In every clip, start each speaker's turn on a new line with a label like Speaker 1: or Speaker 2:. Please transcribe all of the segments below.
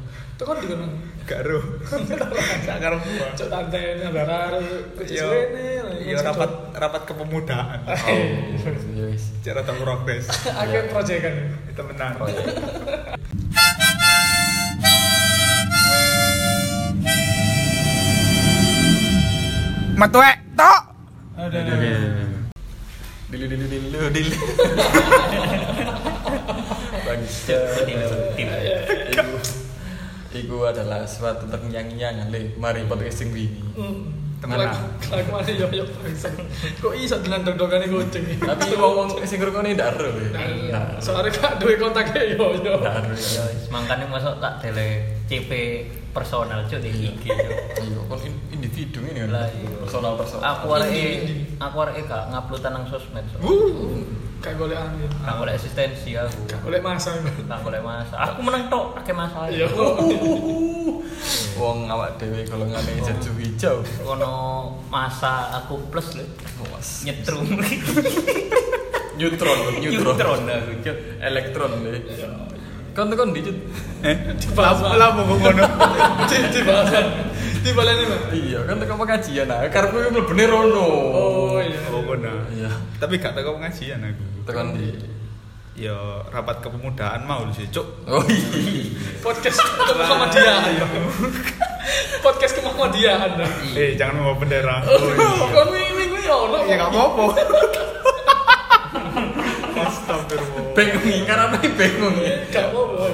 Speaker 1: itu kan juga nang
Speaker 2: Garu. Sakar gua.
Speaker 1: cok tante ini barar
Speaker 2: Yo,
Speaker 1: kecil ini
Speaker 2: yo rapat rapat kepemudaan.
Speaker 3: Oh, iya wis.
Speaker 2: Cara tahu progres.
Speaker 1: akhir
Speaker 3: Iya.
Speaker 1: proyek kan
Speaker 2: Itu menang.
Speaker 3: Oh, iya.
Speaker 2: Matuek tok.
Speaker 1: ada
Speaker 3: Dilu dilu dilu dilu. Bangsa. Eh, ah, ya. Iku, iku adalah suatu terngiang-ngiang le. Mari podcast sing ini.
Speaker 1: Hmm.
Speaker 2: Temen
Speaker 1: aku aku masih yo yo ya, kok iso dengan dong-dongan kucing
Speaker 3: Tapi wong-wong sing ngrungokne ndak ero. le.
Speaker 1: Nah, iya.
Speaker 3: Ndak.
Speaker 1: soalnya kak duit kontaknya yo yo
Speaker 3: Ndak ero.
Speaker 4: Ya, wis, makanya masuk tak tele CP personal cuy di IG. Cuk.
Speaker 3: Iya, kon in- individu ini kan.
Speaker 4: Lah, iya.
Speaker 3: Personal personal.
Speaker 4: Aku
Speaker 1: Indie,
Speaker 4: arek e-
Speaker 1: indie.
Speaker 4: aku arek gak ngupload nang sosmed. Cuk.
Speaker 3: Wuh.
Speaker 1: kayak boleh ambil
Speaker 4: Gak boleh eksistensi aku.
Speaker 1: gak boleh masa
Speaker 4: Gak boleh masa. Aku menang tok, pakai masalah.
Speaker 1: yo
Speaker 3: Wong awak dhewe golongane jaju hijau.
Speaker 4: Kono masa aku plus lho.
Speaker 3: Awas.
Speaker 4: Nyetrum.
Speaker 3: Neutron, neutron.
Speaker 4: Neutron aku, Cuk.
Speaker 3: Elektron le. Kon tekan dicut.
Speaker 2: Eh,
Speaker 1: Plasma.
Speaker 2: lah mau ngono.
Speaker 1: di balasan di balasan Mas.
Speaker 3: Iya, kan tekan pengajian nah. Karepku yo mlebune rono.
Speaker 1: oh iya
Speaker 2: Oh ngono.
Speaker 3: Iya.
Speaker 2: Tapi gak teko pengajian aku.
Speaker 3: Tekan di.
Speaker 2: Yo rapat kepemudaan mau sih, Cuk.
Speaker 3: Oh iya.
Speaker 1: podcast ke Muhammadiyah
Speaker 2: Nah.
Speaker 1: ayo podcast ke Muhammadiyah anda
Speaker 2: Eh, jangan mau bendera.
Speaker 1: kan ini gue ya ono
Speaker 2: Ya Iya. gak apa-apa. Astagfirullah.
Speaker 3: Bingung iki, karena aku bingung ya.
Speaker 1: gak apa-apa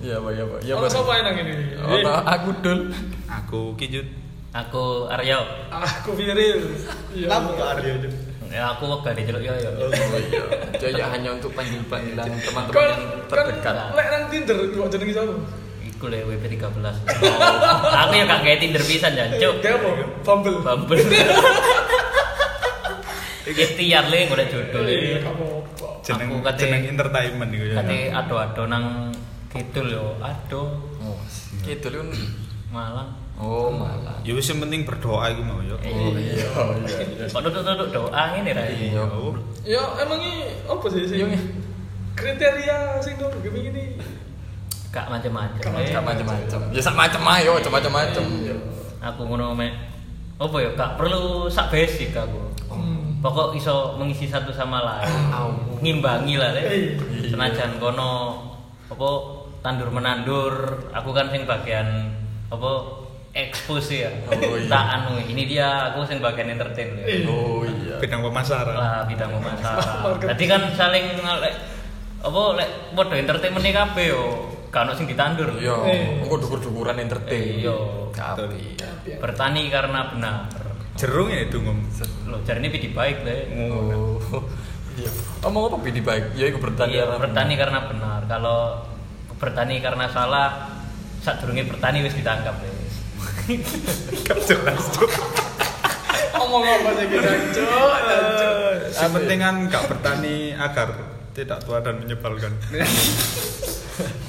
Speaker 3: Iya, Pak, iya, Pak. Iya,
Speaker 1: ya
Speaker 3: Pak.
Speaker 1: siapa yang nangin ini Eh,
Speaker 3: Ono aku dul.
Speaker 2: Aku kijut.
Speaker 4: Aku Aryo.
Speaker 1: aku viril iya
Speaker 2: Arya Cuk.
Speaker 4: Ya aku gak diceluk yo yo.
Speaker 3: Oh iya. Jadi hanya untuk panggil-panggilan teman-teman
Speaker 1: kan
Speaker 3: yang
Speaker 1: kan
Speaker 3: terdekat.
Speaker 1: lek nang Tinder kok jenenge sapa
Speaker 4: Iku le WP 13. Aku ya gak kayak Tinder pisan jan, Cuk.
Speaker 1: gak apa fumble
Speaker 4: Eh, Bumble. Ikhtiar le golek jodoh
Speaker 1: iya
Speaker 4: le.
Speaker 1: gak apa-apa
Speaker 2: Jeneng
Speaker 4: Aku kate-
Speaker 2: jeneng entertainment iku ya.
Speaker 4: Kate ado-ado nang kidul yo. Aduh,
Speaker 3: Oh, gitu kan.
Speaker 4: Malang.
Speaker 3: Oh, malah.
Speaker 2: Ya wis yang penting berdoa iku mau ya. yo.
Speaker 3: Oh iya, iya, iya.
Speaker 4: Kok duduk-duduk doa ngene ra iki.
Speaker 3: Iya.
Speaker 1: ya emang ini apa sih sih
Speaker 3: Iya, iya.
Speaker 1: kriteria sing dong gini gini
Speaker 4: Gak macem-macem.
Speaker 1: Gak
Speaker 4: eh.
Speaker 3: Gak macam-macam. Ya sak macam ayo, cuma macam-macam.
Speaker 4: Eh, Aku ngono mek. Apa ya gak perlu sak basic aku.
Speaker 1: Hmm.
Speaker 4: Pokok iso mengisi satu sama lain.
Speaker 3: Au.
Speaker 4: Ngimbangi lah le.
Speaker 3: Iya.
Speaker 4: Senajan kono apa tandur menandur, aku kan sing bagian apa expose ya.
Speaker 3: Oh, iya.
Speaker 4: Tak anu ini dia aku sing bagian entertain ya.
Speaker 3: Oh iya.
Speaker 2: Bidang pemasaran.
Speaker 4: lah bidang pemasaran.
Speaker 1: Marketing.
Speaker 4: Jadi kan saling lek apa lek podo entertainment iki kabeh yo. Gak ono sing ditandur.
Speaker 3: Iya,
Speaker 1: Eh.
Speaker 3: engko dukur-dukuran entertain. Iya.
Speaker 4: Iya.
Speaker 3: Tapi.
Speaker 4: Bertani karena benar.
Speaker 2: Jerung ya dungum.
Speaker 4: Lo cari ini pidi baik deh.
Speaker 3: Oh. Iya. Omong apa pilih baik? Ya iku bertani.
Speaker 4: Iya,
Speaker 3: arah-
Speaker 4: bertani karena benar. Kalau bertani karena salah, saat durungnya bertani wis ditangkap deh.
Speaker 2: Gak jelas Cuk.
Speaker 1: ngomong apa sih kita cok
Speaker 2: Yang penting kan gak bertani agar tidak tua dan menyebalkan.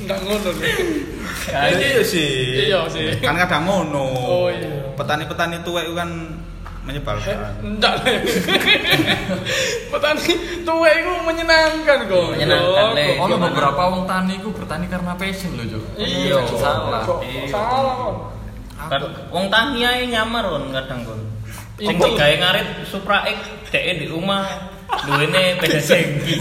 Speaker 1: nggak ngono deh
Speaker 2: Ya iya sih.
Speaker 1: Iya sih.
Speaker 2: Kan kadang ngono.
Speaker 1: Oh, iya.
Speaker 2: Petani-petani tua itu kan menyebalkan.
Speaker 1: Enggak lah. Eh, Petani tua itu menyenangkan kok.
Speaker 4: Menyenangkan, Le.
Speaker 1: Kok-
Speaker 3: Iya, Ono
Speaker 4: Gimana?
Speaker 3: beberapa wong tani ku bertani karena passion loh, Cuk.
Speaker 1: Iya.
Speaker 3: Jangan Salah.
Speaker 1: Kok
Speaker 4: Iya.
Speaker 1: Salah kok.
Speaker 4: Kan wong tani ae nyamar kon kadang kon. Sing
Speaker 1: Apa?
Speaker 4: digawe ngarit Supra X dhek di rumah duwene beda jengki.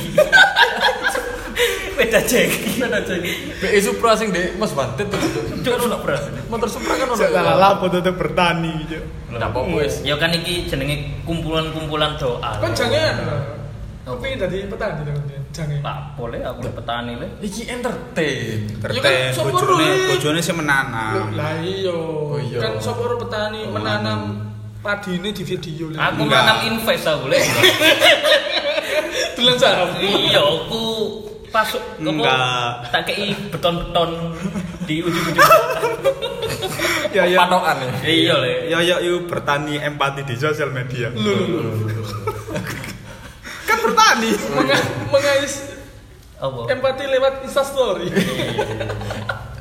Speaker 4: Beda jengki. Beda jengki.
Speaker 3: BE Supra sing Dek Mas Bantet tuh, Cuk.
Speaker 4: Cuk ono bro.
Speaker 3: Motor Supra kan ono.
Speaker 2: tuh bertani. Cuk.
Speaker 3: Enggak apa-apa wis.
Speaker 4: Ya kan iki jenenge kumpulan-kumpulan doa.
Speaker 1: Kan jangan. Tapi tadi petani dong dia. Jangan.
Speaker 4: Tak boleh aku petani le.
Speaker 3: Iki entertain.
Speaker 2: Iya Terteh
Speaker 1: sopor
Speaker 2: bojone,
Speaker 1: duit.
Speaker 2: bojone sih menanam.
Speaker 1: Lah iya.
Speaker 3: Oh, iya.
Speaker 1: Kan sopor petani
Speaker 3: Oh.
Speaker 1: menanam padine di video lah.
Speaker 4: Aku
Speaker 2: Enggak.
Speaker 4: nanam invest aku le.
Speaker 1: Delan saham.
Speaker 4: Iya aku pasuk apa,
Speaker 2: Enggak.
Speaker 4: Tak kei beton-beton di ujung-ujung.
Speaker 2: Ya ya.
Speaker 3: Panokan ya.
Speaker 4: Iya le.
Speaker 2: Ya ya yuk bertani empati di sosial media.
Speaker 1: Lu lu, lu.
Speaker 2: Kan bertani.
Speaker 1: Menga- mengais
Speaker 4: Apa?
Speaker 1: empati lewat Insta story.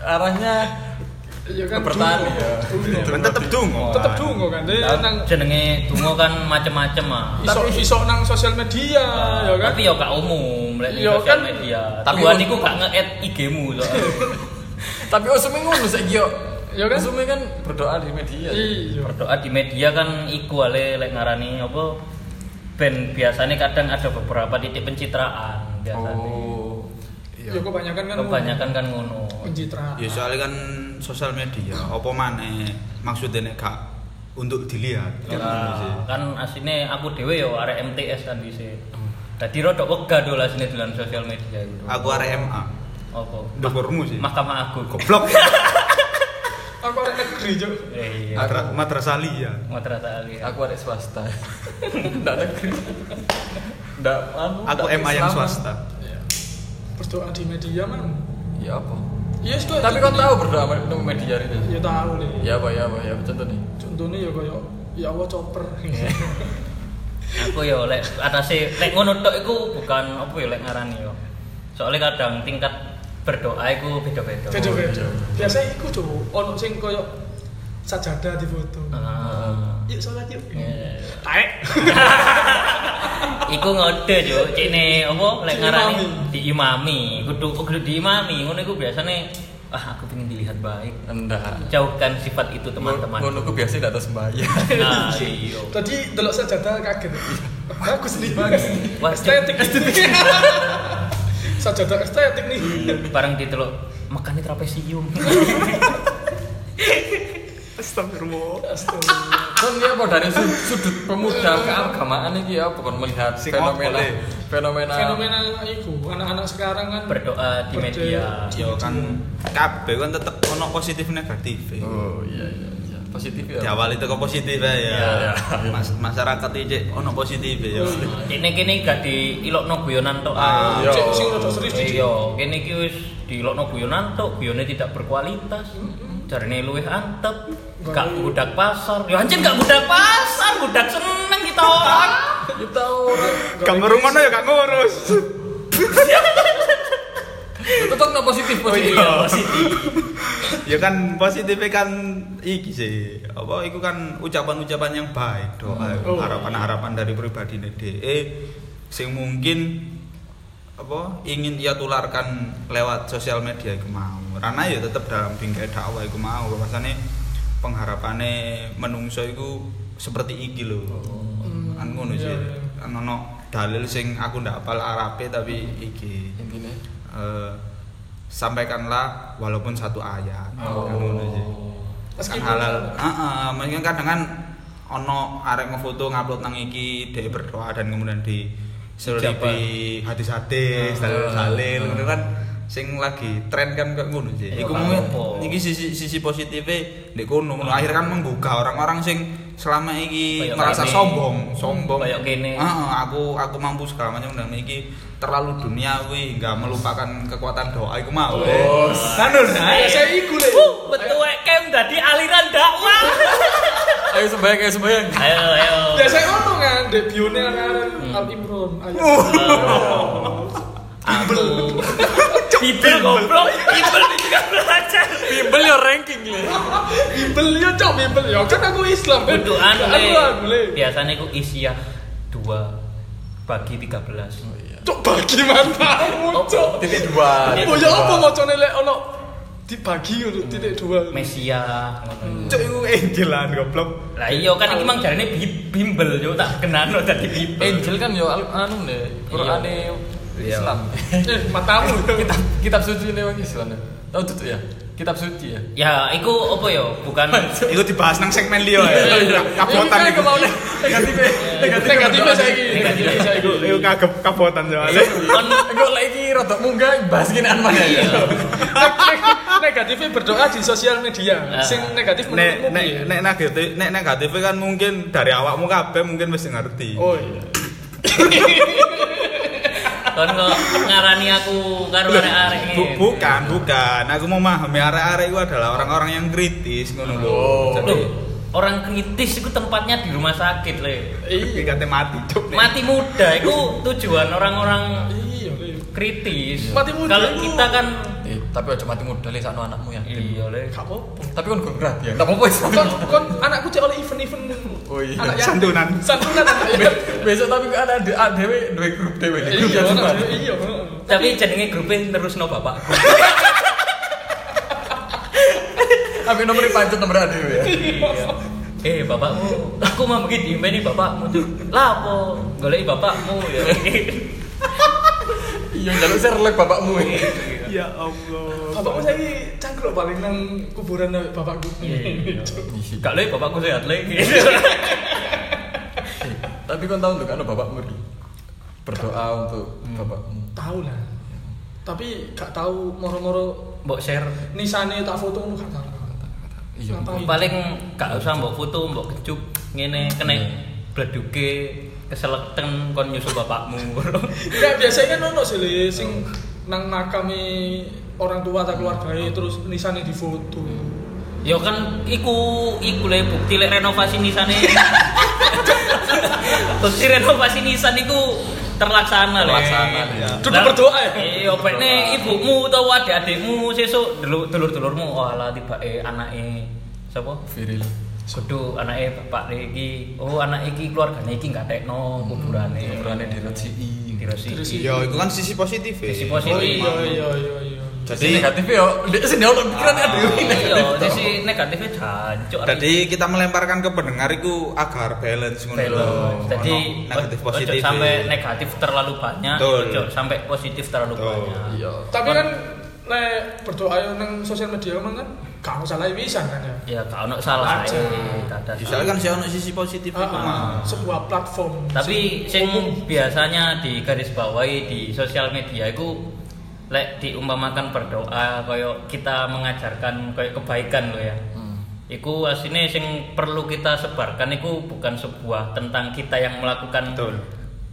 Speaker 3: Arahnya
Speaker 1: Iya
Speaker 3: Ke
Speaker 1: dungo.
Speaker 3: petani, ya.
Speaker 1: Dungo.
Speaker 2: Kan tetep dungo.
Speaker 1: Tetep dungo kan. Dia nang
Speaker 4: jenenge donga kan macem-macem ah.
Speaker 1: iso iso nang sosial media ya kan.
Speaker 4: Tapi ya gak umum lek di
Speaker 1: Yo,
Speaker 4: sosial
Speaker 1: kan.
Speaker 4: media.
Speaker 3: Tapi
Speaker 4: Tapi Tuhan
Speaker 3: un-
Speaker 4: iku gak nge-add IG-mu soalnya.
Speaker 3: Tapi usume ngono saiki yo.
Speaker 1: Ya kan?
Speaker 3: Usume kan berdoa di media.
Speaker 1: Iya.
Speaker 4: berdoa di media kan iku ale lek ngarani apa band biasanya kadang ada beberapa titik pencitraan biasanya
Speaker 3: Oh. Iya.
Speaker 1: Ya kebanyakan kan
Speaker 4: kebanyakan kan ngono
Speaker 1: pencitraan.
Speaker 2: Ya soalnya kan sosial media, apa maneh maksudnya nek gak untuk dilihat. Kan ngono sih.
Speaker 4: Nah, kan aslinya aku dewe yo arek MTS kan bisa
Speaker 2: Hmm.
Speaker 4: jadi rodok wega dulu aslinya dalam sosial media itu
Speaker 2: Aku arek MA.
Speaker 4: apa
Speaker 2: Dukurmu sih.
Speaker 4: mahkamah agung
Speaker 2: Goblok.
Speaker 1: Aku ada negeri Cuk.
Speaker 4: Eh, iya
Speaker 2: Matra- Madrasah Alia.
Speaker 4: madrasah alia
Speaker 3: Aku ada swasta. Ndak negeri. Ndak anu.
Speaker 2: Aku
Speaker 3: ndak
Speaker 2: MA yang
Speaker 3: keislaman.
Speaker 2: swasta.
Speaker 1: Berdoa di media mana?
Speaker 3: Ya apa?
Speaker 1: Iya, yes,
Speaker 3: Tapi kau tahu berdoa me- nemu media itu.
Speaker 1: Ya tahu nih.
Speaker 3: Ya apa ya apa ya apa, contoh nih.
Speaker 1: Contohnya ya koyo ya Allah chopper.
Speaker 4: aku yo lek atase lek ngono tok iku bukan apa ya lek ngarani yo soalnya kadang tingkat berdoa iku beda-beda
Speaker 1: Beda-beda. Biasanya iku Cuk, ono sing koyo sajadah di foto.
Speaker 4: Ah.
Speaker 1: Yuk sholat yuk.
Speaker 3: Iya.
Speaker 1: Taek.
Speaker 4: Iku ngode yo, cikne apa
Speaker 1: Diimami.
Speaker 4: lek ngarani diimami, kudu kudu diimami, ngono iku biasane ah aku pengen dilihat baik.
Speaker 3: Ndak.
Speaker 4: Jauhkan sifat itu teman-teman.
Speaker 3: Ngono ku biasa ndak terus sembahyang.
Speaker 4: Nah, iya.
Speaker 1: Tadi delok sajadah kaget. Bagus nih, bagus nih.
Speaker 4: Wah,
Speaker 1: Estetik, estetik. sajadah estetik nih.
Speaker 4: Bareng ditelok makane trapesium.
Speaker 2: Astagfirullah.
Speaker 1: Astaga.
Speaker 3: kan dia apa dari sud- sudut pemuda keagamaan ini ya bukan melihat
Speaker 2: Sing
Speaker 3: fenomena
Speaker 2: apa, Le?
Speaker 3: fenomena
Speaker 1: Fenomenal itu, anak-anak sekarang kan
Speaker 4: Berdoa di media.
Speaker 2: Ya kan kabeh kan tetep ono positif negatif. ya.
Speaker 3: oh iya iya iya positif ya
Speaker 2: Diawali teko positif
Speaker 3: Iya,
Speaker 2: ya.
Speaker 3: iya.
Speaker 2: Mas- masyarakat iki cek ono positif ya.
Speaker 4: Cikne kene gak diilokno guyonan tok.
Speaker 2: Ah,
Speaker 4: ae.
Speaker 3: Iya.
Speaker 1: Cek sing rada serius dikit.
Speaker 4: Iya, kene iki wis diilokno guyonan tok, guyone tidak berkualitas. Jarine luwih antep. Gak
Speaker 1: Baru-
Speaker 4: budak pasar. Ya anjir gak budak pasar, budak seneng kita orang.
Speaker 3: kita orang
Speaker 2: Gak ngerungono ya gak ngurus.
Speaker 3: tetap nggak positif
Speaker 2: Oh,
Speaker 3: positif
Speaker 2: iya.
Speaker 4: positif.
Speaker 2: ya kan positifnya kan iki sih. Apa itu kan ucapan-ucapan yang baik doa.
Speaker 1: Oh.
Speaker 2: Harapan-harapan dari pribadi DE sing mungkin apa ingin ia tularkan lewat sosial media iku mau. Rana ya tetep dalam bingkai dakwah iku mau. Bahwasane pengharapane menungso iku seperti iki lho. Kan ngono
Speaker 1: Oh. Iya,
Speaker 2: sih.
Speaker 1: iya.
Speaker 2: Kan ono dalil sing aku ndak hafal Arabe tapi iki.
Speaker 3: intinya
Speaker 2: eh, sampaikanlah walaupun satu ayat
Speaker 3: Oh.
Speaker 2: Kan ngono sih. kan
Speaker 1: Meskipun-
Speaker 2: halal Heeh, mungkin kadang kan ono arek ngefoto ngupload nang iki dia berdoa dan kemudian di selipi hadis-hadis
Speaker 4: Ah.
Speaker 2: dalil dalil ngono kan sing lagi tren kan kayak ngono sih
Speaker 4: Ya,
Speaker 2: iku
Speaker 4: kan
Speaker 2: mungkin
Speaker 4: apa.
Speaker 2: iki sisi sisi positifnya ndek kono ngono akhir kan menggugah orang-orang sing selama iki
Speaker 4: Kayak
Speaker 2: merasa
Speaker 4: kene.
Speaker 2: sombong sombong
Speaker 4: Kayak kene.
Speaker 2: Heeh, aku aku mampu segala macam dan iki terlalu duniawi nggak melupakan kekuatan doa iku mau oh.
Speaker 1: Anu, nah, saya iku le.
Speaker 4: Uh, betul kem dadi aliran dakwah.
Speaker 3: ayo sembahyang ayo sembahyang
Speaker 4: ayo ayo.
Speaker 1: Biasanya ono kan debione kan Al Imron. Ayo.
Speaker 4: Aku Bibel goblok, bibel juga belajar.
Speaker 3: bimbel ya ranking le
Speaker 1: Bibel ya cok bibel ya kan aku Islam. Kan Ben.
Speaker 4: Berdoaan le.
Speaker 1: Berdoaan, le.
Speaker 4: Biasanya ku isiah 2 bagi 13.
Speaker 1: Cok bagi matamu cok.
Speaker 3: titik dua
Speaker 1: Oh ya apa macane lek ono dibagi ngono titik dua.
Speaker 4: Mesia ngono.
Speaker 2: cok iku angelan goblok
Speaker 4: Lah iya kan iki mang jarane bi- bimbel yo tak kenano dadi bibel.
Speaker 3: angel kan yo al- anu le Quran
Speaker 2: Iya.
Speaker 3: Islam
Speaker 1: Eh matamu.
Speaker 3: kitab kitab suci ini bang Islam ya tahu tuh ya kitab suci ya
Speaker 4: Ya, iku apa yo? Bukan
Speaker 2: iku dibahas nang segmen liya
Speaker 4: Iya,
Speaker 2: ya kabotan
Speaker 3: Ini
Speaker 2: iku
Speaker 3: kan mau nih negatif negatif
Speaker 1: eh. Negatif saiki.
Speaker 4: Negatif.
Speaker 1: saiki.
Speaker 2: iku kagep kabotan soalnya
Speaker 4: kon
Speaker 3: gue lagi rotok munggah bahas ginian mana ya
Speaker 4: iya.
Speaker 1: Negatifnya berdoa di sosial media.
Speaker 4: Nah.
Speaker 1: Sing negatif
Speaker 2: nek
Speaker 1: menurutmu
Speaker 2: nek
Speaker 1: piye?
Speaker 2: nek negatif nek negatif kan mungkin dari awakmu kabeh mungkin wis ngerti
Speaker 1: Oh iya.
Speaker 4: kon kok ngarani aku karo arek-arek
Speaker 2: Bu,
Speaker 4: ngene.
Speaker 2: bukan, bukan. Aku mau memahami arek-arek itu adalah orang-orang yang kritis ngono lho.
Speaker 3: Oh.
Speaker 2: Jadi
Speaker 4: Loh, orang kritis itu tempatnya di rumah sakit le.
Speaker 1: Iya,
Speaker 2: iki kate mati, cuk. nih.
Speaker 4: Mati muda itu tujuan orang-orang
Speaker 1: Iya. iya.
Speaker 4: kritis.
Speaker 1: Mati muda
Speaker 4: Kalau
Speaker 1: itu-
Speaker 4: kita kan
Speaker 3: Eh, tapi aja mati muda le sakno anakmu ya
Speaker 4: iya le.
Speaker 1: Gak apa-apa.
Speaker 3: tapi kan gue berat ya nggak apa-apa Is.
Speaker 1: Kon kon anakku cek oleh event-event.
Speaker 3: Oh iya.
Speaker 4: ya.
Speaker 1: Anak yatim.
Speaker 2: Santunan.
Speaker 1: Santunan anak ya. yatim.
Speaker 3: besok tapi kan ada ada dewe dua grup dewe
Speaker 1: Eh,
Speaker 3: grup
Speaker 1: Iya,
Speaker 3: yang
Speaker 1: anak
Speaker 3: sama.
Speaker 1: yatim, iya.
Speaker 4: Tapi jenenge grupnya terus no bapak.
Speaker 3: Ambil nomor pancet nomor ada
Speaker 1: iya.
Speaker 3: ya.
Speaker 4: eh bapakmu aku mau begini ini bapakmu tuh lapo golek bapakmu ya
Speaker 3: Iya, jaluk serlek bapakmu.
Speaker 2: ya Allah
Speaker 1: Bapakmu saya cangkruk paling nang kuburan sama bapakku.
Speaker 4: Iya.
Speaker 3: Ih,
Speaker 4: gak le bapakku sehat le
Speaker 3: Eh, Tapi kau tahu untuk anu bapakmu Ri? Berdoa untuk bapakmu.
Speaker 1: Tahu lah. Tapi gak tahu moro-moro
Speaker 4: mbok share
Speaker 1: nisane tak foto lu gak tahu.
Speaker 3: Iya.
Speaker 1: Ngapain?
Speaker 4: paling gak usah mbok foto mbok kecup ngene kena
Speaker 3: Iya.
Speaker 4: bleduke keselekten kon nyusul bapakmu
Speaker 1: Enggak biasanya kan ono sih Le, sing nang makame orang tua atau keluarga e, terus nisane difoto.
Speaker 4: ya kan iku iku le bukti lek renovasi nisane bukti renovasi nisan iku terlaksana le
Speaker 3: Terlaksana, ya.
Speaker 1: Duduk berdoa ya?
Speaker 4: iya pekne ibumu utawa adik-adikmu sesuk delok dulur-dulurmu oh ala tibake anake sapa
Speaker 3: Viril.
Speaker 4: Kudu anake bapak iki, oh anak iki keluargane iki gak
Speaker 2: Hmm,
Speaker 4: tekno kuburane.
Speaker 3: Ukurannya di RCI.
Speaker 4: Diresi.
Speaker 2: ya itu kan sisi positif ya
Speaker 4: Sisi positif.
Speaker 1: Oh iya iya iya iya.
Speaker 2: jadi
Speaker 3: Jadi negatif ya. Dia sini orang pikiran ada ini
Speaker 4: Iya,
Speaker 3: negatif. tau.
Speaker 4: sisi negatifnya jancuk.
Speaker 2: jadi kita melemparkan ke pendengar itu agar balance ngono
Speaker 4: Velo.
Speaker 2: lho.
Speaker 4: Jadi
Speaker 2: Ono negatif positif eh.
Speaker 4: sampai negatif terlalu banyak,
Speaker 2: Betul.
Speaker 4: ojo sampai positif terlalu
Speaker 2: Betul.
Speaker 4: banyak.
Speaker 3: Iya.
Speaker 1: Tapi kan le berdoa yo nang sosial media emang kan gak usah lah pisan kan ya.
Speaker 4: Ya gak ono salah e,
Speaker 1: Aja.
Speaker 4: ae, gak ada
Speaker 2: bisa
Speaker 4: salah.
Speaker 2: kan sih ono sisi positif
Speaker 1: Ah,
Speaker 2: itu
Speaker 1: ah,
Speaker 2: mah
Speaker 1: sebuah platform.
Speaker 4: Tapi sing biasanya di garis bawahi di sosial media itu lek diumpamakan berdoa koyo kita mengajarkan koyo kebaikan lo ya. Iku aslinya sing perlu kita sebarkan iku bukan sebuah tentang kita yang melakukan
Speaker 2: Betul.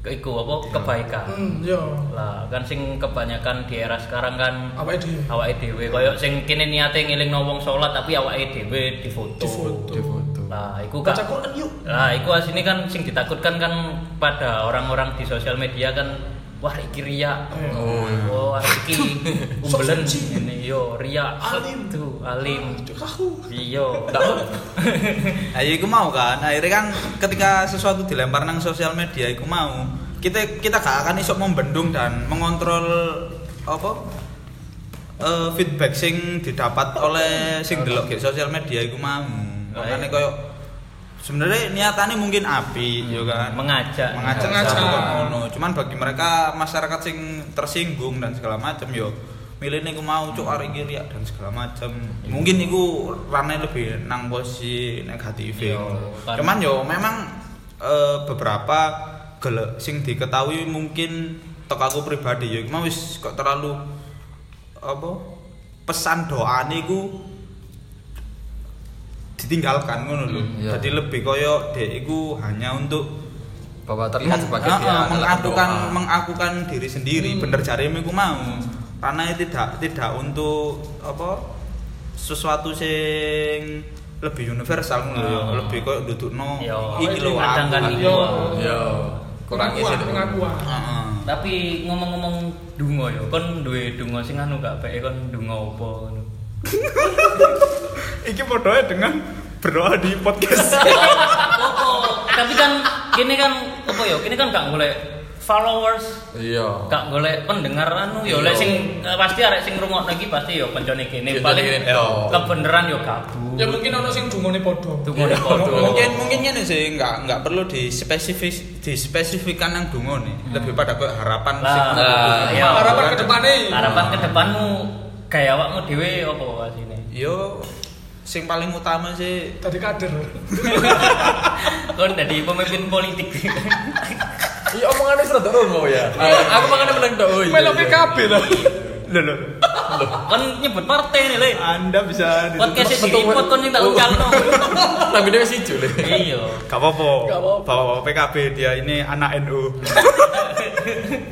Speaker 4: ke- iku apa kebaikan.
Speaker 1: Hmm, yo.
Speaker 4: Lah kan sing kebanyakan di era sekarang kan
Speaker 1: Apa itu?
Speaker 4: awake dhewe koyo sing kene niate ngelingno wong salat tapi awake dhewe difoto.
Speaker 1: Difoto.
Speaker 3: Di foto.
Speaker 4: Lah iku
Speaker 1: Baca
Speaker 4: gak
Speaker 1: Quran yuk.
Speaker 4: Nah, iku asini kan sing ditakutkan kan pada orang-orang di sosial media kan wah iki ria.
Speaker 3: Oh, iya.
Speaker 4: Oh, wah, iki
Speaker 1: Sok
Speaker 4: umbelen
Speaker 1: suci.
Speaker 4: ngene yo ria.
Speaker 1: Alim.
Speaker 4: tuh alim.
Speaker 1: Aduh, aku.
Speaker 4: Iyo.
Speaker 2: ayo iku mau kan akhirnya kan ketika sesuatu dilempar nang sosial media iku mau kita kita gak akan iso membendung dan mengontrol apa eh, feedback sing didapat oleh sing delok di sosial media iku mau makanya koyo sebenarnya niatannya mungkin api
Speaker 4: Iya,
Speaker 2: yo kan
Speaker 4: Mengajak.
Speaker 2: mengajak
Speaker 1: Mengajak.
Speaker 2: satu ngono. Cuman bagi mereka masyarakat sing tersinggung dan segala macam yo milih niku mau cuk arek iki riak dan segala macam. Mungkin niku rane lebih nang posisi negatif.
Speaker 4: Yo, kan.
Speaker 2: Cuman yo memang eh, beberapa gele sing diketahui mungkin tok aku pribadi yo iku mau wis kok terlalu apa pesan doa niku ditinggalkan ngono lho.
Speaker 3: Hmm, iya.
Speaker 2: Jadi lebih koyo dek iku hanya untuk
Speaker 3: Bahwa terlihat sebagai
Speaker 2: Ah,
Speaker 3: dia
Speaker 2: ah,
Speaker 3: adalah
Speaker 2: mengakukan
Speaker 3: berdoa.
Speaker 2: mengakukan diri sendiri bener jarimu iku mau karena tidak tidak untuk apa sesuatu sing lebih universal ngono lho,
Speaker 3: Hmm.
Speaker 4: Ah.
Speaker 2: lebih koyo dudukno
Speaker 4: Yo.
Speaker 2: iki lho
Speaker 4: Kadang kan
Speaker 2: aku.
Speaker 4: iyo.
Speaker 3: Yo, kurang isi
Speaker 1: pengakuan, pengakuan.
Speaker 2: Heeh.
Speaker 4: Tapi ngomong-ngomong dungo yo, kon duwe dungo sing anu gak peke kon dungo apa ngono.
Speaker 2: Iki podoe dengan berdoa di podcast.
Speaker 4: Apa? Tapi kan kene kan apa yo? Kene kan gak golek followers,
Speaker 3: Iya.
Speaker 4: gak golek pendengar anu
Speaker 3: Oh.
Speaker 4: yo
Speaker 3: Iya.
Speaker 4: lek sing eh, pasti arek sing ngrungokno iki pasti yo koncone
Speaker 3: Iya,
Speaker 4: kene paling
Speaker 3: kene, yo.
Speaker 4: kebeneran yo kabur.
Speaker 1: Ya mungkin ono sing dungone padha.
Speaker 4: Tunggu di
Speaker 3: Betul.
Speaker 2: mungkin mungkin ngene sih nggak nggak perlu dispesifik dispesifikan nang dungo nih
Speaker 3: Hmm.
Speaker 2: lebih pada koyo harapan
Speaker 4: Lah,
Speaker 2: sing-
Speaker 3: nah,
Speaker 4: iya.
Speaker 1: Harapan ke depane.
Speaker 4: Harapan kedepanmu gaya awakmu dhewe apa asine?
Speaker 2: yo sing paling utama sih
Speaker 1: Tadi kader.
Speaker 4: Kon dadi pemimpin politik.
Speaker 3: Iya omongannya serta dulu mau ya. Ah, Aku makannya menang dong.
Speaker 1: Melo PKB lah.
Speaker 2: lho lho
Speaker 4: kon nyebut partai nih, Le.
Speaker 2: Anda bisa
Speaker 4: Podcast di report kon sing tak
Speaker 3: Oh.
Speaker 4: ucalno.
Speaker 3: Tapi dia sih jule.
Speaker 4: Iya.
Speaker 2: Gak apa-apa.
Speaker 1: Gak apa-apa.
Speaker 2: Bawa PKB dia ini anak NU.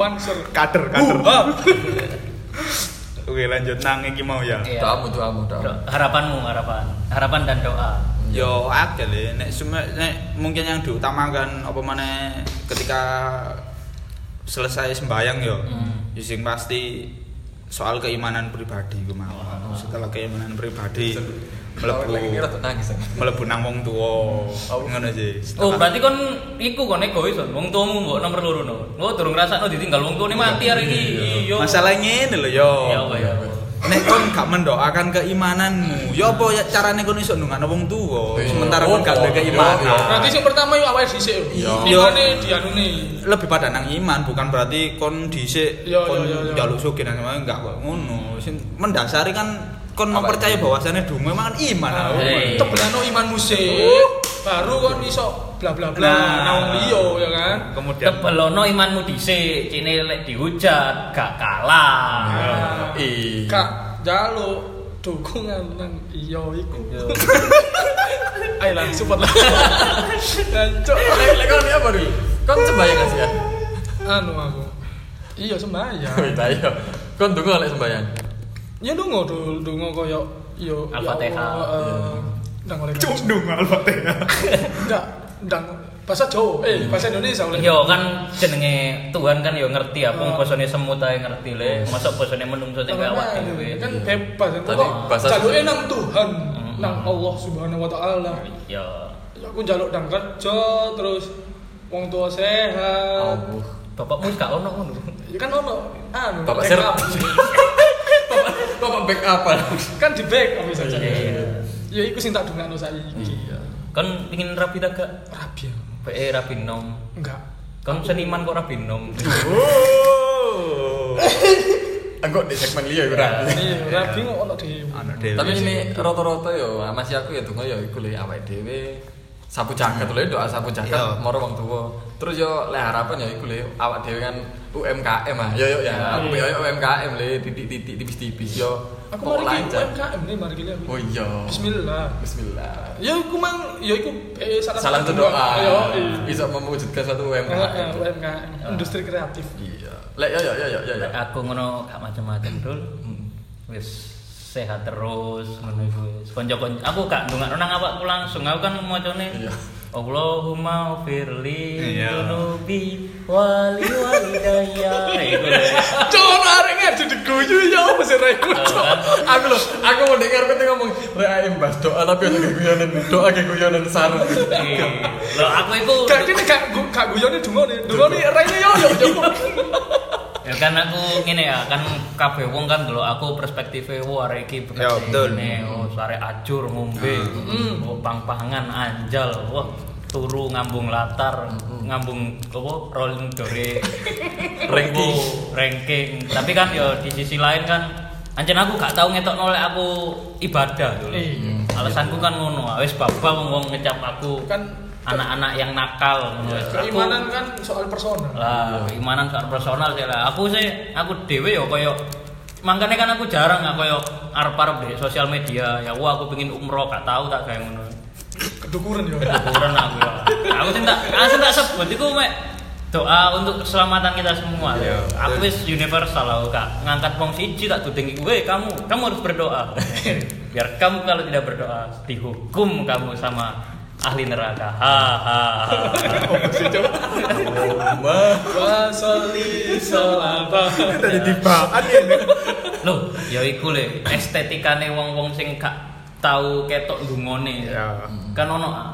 Speaker 1: Panser.
Speaker 2: Kader, kader. Oke, lanjut nang iki mau ya.
Speaker 4: Iya.
Speaker 3: Doamu, doamu, doamu.
Speaker 4: Do- Harapanmu, harapan. Harapan dan doa.
Speaker 2: Yo akeh le nek seme- nek mungkin yang diutamakan apa maneh ketika selesai sembayang yo.
Speaker 4: Hmm.
Speaker 2: yo sing pasti soal keimanan pribadi ku mau. Setelah keimanan pribadi melebu
Speaker 3: Lagi ini rada nangis. aku.
Speaker 2: melebu nang wong tuwa.
Speaker 3: Oh.
Speaker 2: Ngono sih. Setelah-
Speaker 4: Oh, berarti kon iku kon egois kon. Wong tuamu mbok nomor loro Oh, no. Lo durung ngrasakno ditinggal wong tuane mati arek iki. Iya.
Speaker 1: Oh,
Speaker 2: Masalah ngene lho yo.
Speaker 4: Ya apa ya.
Speaker 2: nek kon gak mendoakan keimananmu ya apa ya carane kon iso ndungakno wong tuwa
Speaker 3: Iya.
Speaker 2: sementara kon gak duwe
Speaker 3: Iya.
Speaker 2: keimanan
Speaker 1: Berarti sing pertama yo awake dhisik
Speaker 2: Iya.
Speaker 1: yo. Imane dianune.
Speaker 2: lebih pada nang iman bukan berarti kon dhisik
Speaker 1: Iya,
Speaker 2: kon
Speaker 1: iya, iya, iya.
Speaker 2: njaluk sugih nang iman enggak kok ngono Sing mendasari kan kon
Speaker 3: Apa
Speaker 2: mempercaya
Speaker 3: itu?
Speaker 2: bahwasannya dungu memang kan iman
Speaker 1: Nah,
Speaker 2: aku.
Speaker 4: Iya.
Speaker 1: Tebelano iman musik. Baru kon iso bla bla bla
Speaker 2: Nah.
Speaker 1: nang wong liya ya kan.
Speaker 2: kemudian
Speaker 4: Tebelono imanmu dhisik, cine lek dihujat gak kalah.
Speaker 1: Nah,
Speaker 3: Iya.
Speaker 1: Kak jaluk dukungan nang iya iku. Ayo lah support lah. Jancuk.
Speaker 3: Lek kon apa dulu? Kon sembahyang gak sih ya?
Speaker 1: Anu aku. Iya sembahyang.
Speaker 3: Wih, ayo. Kon tunggu lek sembahyang.
Speaker 1: Ya dungo dul, dungo koyo yo
Speaker 4: Al-Fatihah.
Speaker 1: Ndang eh, oleh
Speaker 2: Cung al-Fatihah.
Speaker 1: Enggak, ndang bahasa Jawa. Eh, bahasa Indonesia oleh.
Speaker 4: Yo kan jenenge Tuhan kan yo ngerti apa
Speaker 1: Oh.
Speaker 4: bosone semut ae ngerti le, mosok bosone menungso sing gak awak dhewe.
Speaker 1: Kan bebas kan.
Speaker 3: Tadi bahasa-
Speaker 1: Jaluknya nang Tuhan, nang Allah Subhanahu wa taala.
Speaker 4: Yo.
Speaker 1: Ya, Aku jaluk nang kerja terus wong tua sehat.
Speaker 3: Allah.
Speaker 4: Bapakmu wis gak ono ngono.
Speaker 1: Ya kan ono anu
Speaker 3: Bapak
Speaker 1: back
Speaker 3: ser.
Speaker 1: up.
Speaker 3: Bapak bapak back up.
Speaker 1: kan di back apa saja.
Speaker 4: Iya.
Speaker 1: Ya iku sing tak dongakno saiki.
Speaker 4: Kan pengin rapi ta gak?
Speaker 1: Rabi. ya?
Speaker 4: Pe rapi nom.
Speaker 1: Enggak.
Speaker 4: Kan seniman kok rapi nom.
Speaker 2: Oh.
Speaker 3: Aku di segmen liya iku ra.
Speaker 1: Iya, rabi kok ono dhewe.
Speaker 2: Anu dhewe
Speaker 3: Tapi
Speaker 1: iya,
Speaker 2: sih.
Speaker 3: ini rata-rata yo masih aku ya tunggu yo iku le awake dhewe sapu jagat lho doa sapu jagat
Speaker 2: Iya.
Speaker 3: moro wong tuwa. Terus yo le harapan yo iku le awak dhewe kan UMKM ah. Yo yo ya aku yo yo UMKM le titik-titik tipis-tipis
Speaker 1: Iya,
Speaker 3: yo.
Speaker 1: Aku mari
Speaker 3: Pokok
Speaker 1: ki
Speaker 3: lancar.
Speaker 1: UMKM nih mari ki aku.
Speaker 3: Oh iya.
Speaker 1: Bismillah.
Speaker 3: Bismillah.
Speaker 1: Ya iku mang ya iku eh, salah
Speaker 3: Salah
Speaker 1: satu Iya.
Speaker 3: satu doa.
Speaker 1: Yo.
Speaker 3: Bisa mewujudkan suatu
Speaker 1: Heeh,
Speaker 3: iya, UMKM.
Speaker 1: UMKM, industri kreatif.
Speaker 3: Iya. Lek yo yo yo yo Hmm. yo. yo.
Speaker 4: Lek
Speaker 1: ah.
Speaker 4: aku ngono gak macam-macam dul. Wis sehat terus ngono iku. wis. Konco-konco aku gak ndongakno nang awakku langsung. Aku kan macane
Speaker 3: Iya.
Speaker 4: Allahumma firli
Speaker 2: Iya.
Speaker 4: dunubi wali walidayya. Iku lho.
Speaker 1: Cowok arek ngaji diguyu ya apa sih rek
Speaker 3: aku loh, aku mau dengar penting ngomong Rai mbah doa tapi ada keguyonan doa keguyonan sarung
Speaker 4: Iya. Lho aku iku
Speaker 1: Gak kene gak gu- gak guyone dungone, dungone rene yo yo yo.
Speaker 4: ya kan aku ngene ya kan kabeh wong kan dulu aku perspektifnya wah arek iki bekas
Speaker 2: Ya, betul.
Speaker 4: ngene, oh sare acur ngombe oh pang-pangan anjal wah turu ngambung latar ngambung apa rolling dore
Speaker 3: Ranking.
Speaker 4: Oh, ranking tapi kan yo di sisi lain kan Anjen aku gak tau ngetok nolak aku ibadah dulu.
Speaker 1: Iya.
Speaker 4: Alasanku kan ngono, ah, wis babak wong wong ngecap aku
Speaker 1: Kan-
Speaker 4: anak-anak yang nakal ngono. wis. Aku-
Speaker 1: Keimanan kan soal
Speaker 4: Iya.
Speaker 1: personal.
Speaker 4: lah keimanan secara personal sih lah aku sih aku dewe yo koyo makanya kan aku jarang nggak koyo arep arep di sosial media ya wah aku pengen umroh gak tahu tak kayak ngono
Speaker 1: Kedukuran yo.
Speaker 4: kurang aku ya aku sih tak aku sih tak sebut itu mek doa untuk keselamatan kita semua
Speaker 2: Iya.
Speaker 4: aku wis universal lah kak ngangkat wong siji tak tuding iku "Weh, kamu kamu harus berdoa biar kamu kalau tidak berdoa dihukum kamu sama ahli neraka ha ha, ha.
Speaker 1: Wa sholli sholatan.
Speaker 2: tadi dibaan ya. Nek.
Speaker 4: Loh, ya iku le estetikane wong-wong sing gak tau ketok ndungone.
Speaker 1: Iya.
Speaker 2: Ya.
Speaker 3: Mm-hmm.
Speaker 4: Kan ono ah,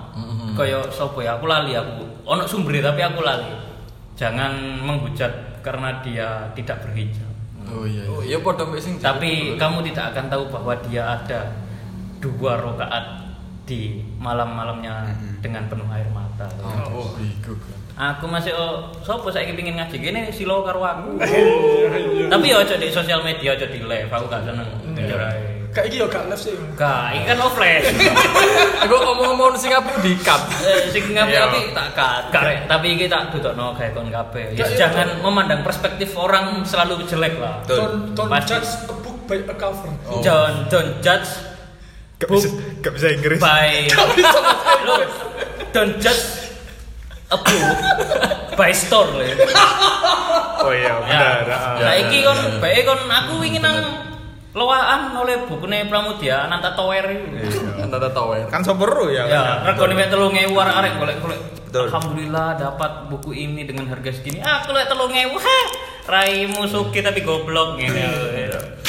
Speaker 4: kaya sapa ya aku lali aku. Ono sumbere tapi aku lali. Jangan menghujat karena dia tidak berhijab.
Speaker 3: oh iya oh iya podo mbek sing
Speaker 4: Tapi kamu tidak akan tahu bahwa dia ada dua rakaat di malam-malamnya dengan penuh air mata.
Speaker 3: Mm-hmm. oh iku
Speaker 4: Aku masih oh, sopo saya pingin ngaji gini silo karo aku.
Speaker 3: Iya,
Speaker 4: Tapi ya aja di sosial media aja di live, aku gak seneng. Jujur
Speaker 3: Iya.
Speaker 4: ae.
Speaker 1: Kayak iki yo gak live sih.
Speaker 4: Gak, ini kan offline.
Speaker 3: aku ngomong-ngomong sing apik di cup
Speaker 4: Eh, Sing ngapi-ngapi tak kat. Karek, tapi iki tak dudokno gawe kon kabeh. Ya, jangan memandang perspektif orang selalu jelek lah.
Speaker 2: Betul.
Speaker 1: Don't don't
Speaker 4: Pasti.
Speaker 1: judge a book by a cover.
Speaker 3: Oh.
Speaker 4: Don't don't judge
Speaker 2: Gak bisa, gak bisa Inggris.
Speaker 4: by
Speaker 1: Bisa
Speaker 4: Lo, don't judge a book by store lho.
Speaker 2: Oh iya,
Speaker 4: Ya. Nah,
Speaker 3: ya,
Speaker 4: iki
Speaker 3: ya,
Speaker 4: kon
Speaker 3: ya.
Speaker 4: bae kon aku ingin nang loaan oleh bukune Pramudia Ananta Tower. iku.
Speaker 3: antara tower
Speaker 2: Kan soberu ya. kan?
Speaker 4: Ya, regane mek 3000 arek golek-golek.
Speaker 2: Betul.
Speaker 4: Alhamdulillah dapat buku ini dengan harga segini. Aku lek 3000. ha, Raimu suki tapi goblok ngene.
Speaker 3: Iya.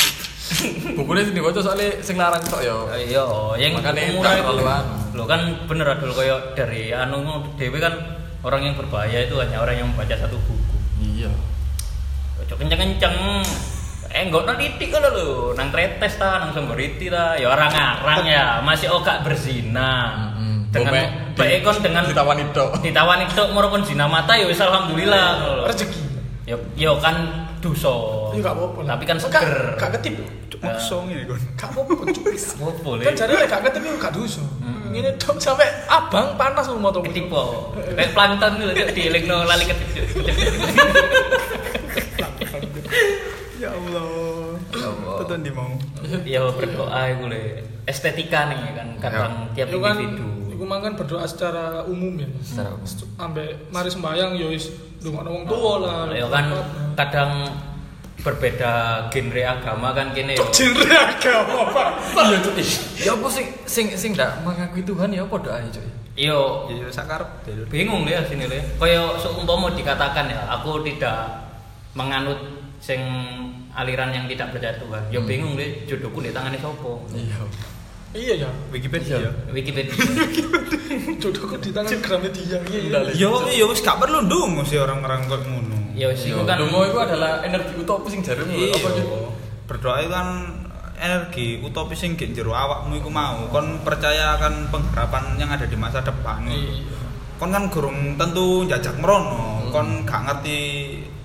Speaker 3: bukunya sing diwaca soalnya sing larang tok ya. yo
Speaker 4: Iya, yang
Speaker 3: Makanya
Speaker 4: murah
Speaker 3: tak
Speaker 4: itu.
Speaker 3: terlalu anu.
Speaker 4: Lo kan bener adol koyo dari anu dewe kan orang yang berbahaya itu hanya orang yang membaca satu buku.
Speaker 3: iya
Speaker 4: Ojo kenceng-kenceng. Eh enggak no titik kalau lu nang tretes ta nang songgoriti ta ya orang-orang ya masih ogak berzina.
Speaker 3: Mm-mm.
Speaker 4: Dengan
Speaker 3: Bobek
Speaker 4: baik kon dengan
Speaker 3: Kan ditawani tok.
Speaker 4: ditawani tok maupun zina mata ya wis alhamdulillah. ngono lho.
Speaker 1: Rezeki.
Speaker 4: Ya ya kan dosa.
Speaker 1: Enggak apa-apa. lah.
Speaker 4: Tapi kan
Speaker 1: Enggak-
Speaker 4: seger.
Speaker 1: Enggak ketip.
Speaker 2: Cuk, maksa ngene kon.
Speaker 1: Enggak apa-apa, Cuk.
Speaker 4: Apa
Speaker 1: Kan jare lek gak ketip yo gak dosa. Ngene tok sampe abang panas lu motor.
Speaker 4: Ketipu. Kayak plankton gitu Cuk, dielingno lali ketip.
Speaker 2: Ya Allah. Teton di mau.
Speaker 4: Ya berdoa iku le. Estetika nih kan kadang tiap
Speaker 1: Iku kan
Speaker 4: individu.
Speaker 1: iku mang kan berdoa secara umum ya.
Speaker 3: Secara umum.
Speaker 1: Ambek mari sembayang yo wis ndongakno wong tuwa lah.
Speaker 4: Ya kan kadang berbeda genre agama kan kene yo.
Speaker 1: genre agama, Pak.
Speaker 3: Iya tuh. Ya apa sing sing sing ndak mengakui Tuhan ya apa doa cuy.
Speaker 4: Yo
Speaker 2: Ya ya sakarep dulu.
Speaker 4: bingung deh sini le. Kaya seumpama dikatakan ya aku tidak menganut sing aliran yang tidak percaya Tuhan. Yo
Speaker 3: Hmm.
Speaker 4: bingung deh jodohku di tangannya sopo.
Speaker 3: Iya.
Speaker 1: Iya ya.
Speaker 2: Wikipedia.
Speaker 4: Wikipedia.
Speaker 1: Jodohku di tangan Gramedia. Iya iya.
Speaker 3: Ndak, Le.
Speaker 2: Yo yo wis gak perlu ndung sih orang-orang kok ngono.
Speaker 4: Yo sih
Speaker 3: Yo,
Speaker 4: kan.
Speaker 3: Iya. Dungo itu adalah energi utopis sing jarum
Speaker 2: Iya.
Speaker 3: apa Cuk?
Speaker 2: Berdoa itu kan energi utopis yang gak jero awakmu iku mau kon percaya akan pengharapan yang ada di masa depan
Speaker 1: Iya.
Speaker 2: kon kan gurung tentu jajak merono
Speaker 3: Hmm.
Speaker 2: kon gak ngerti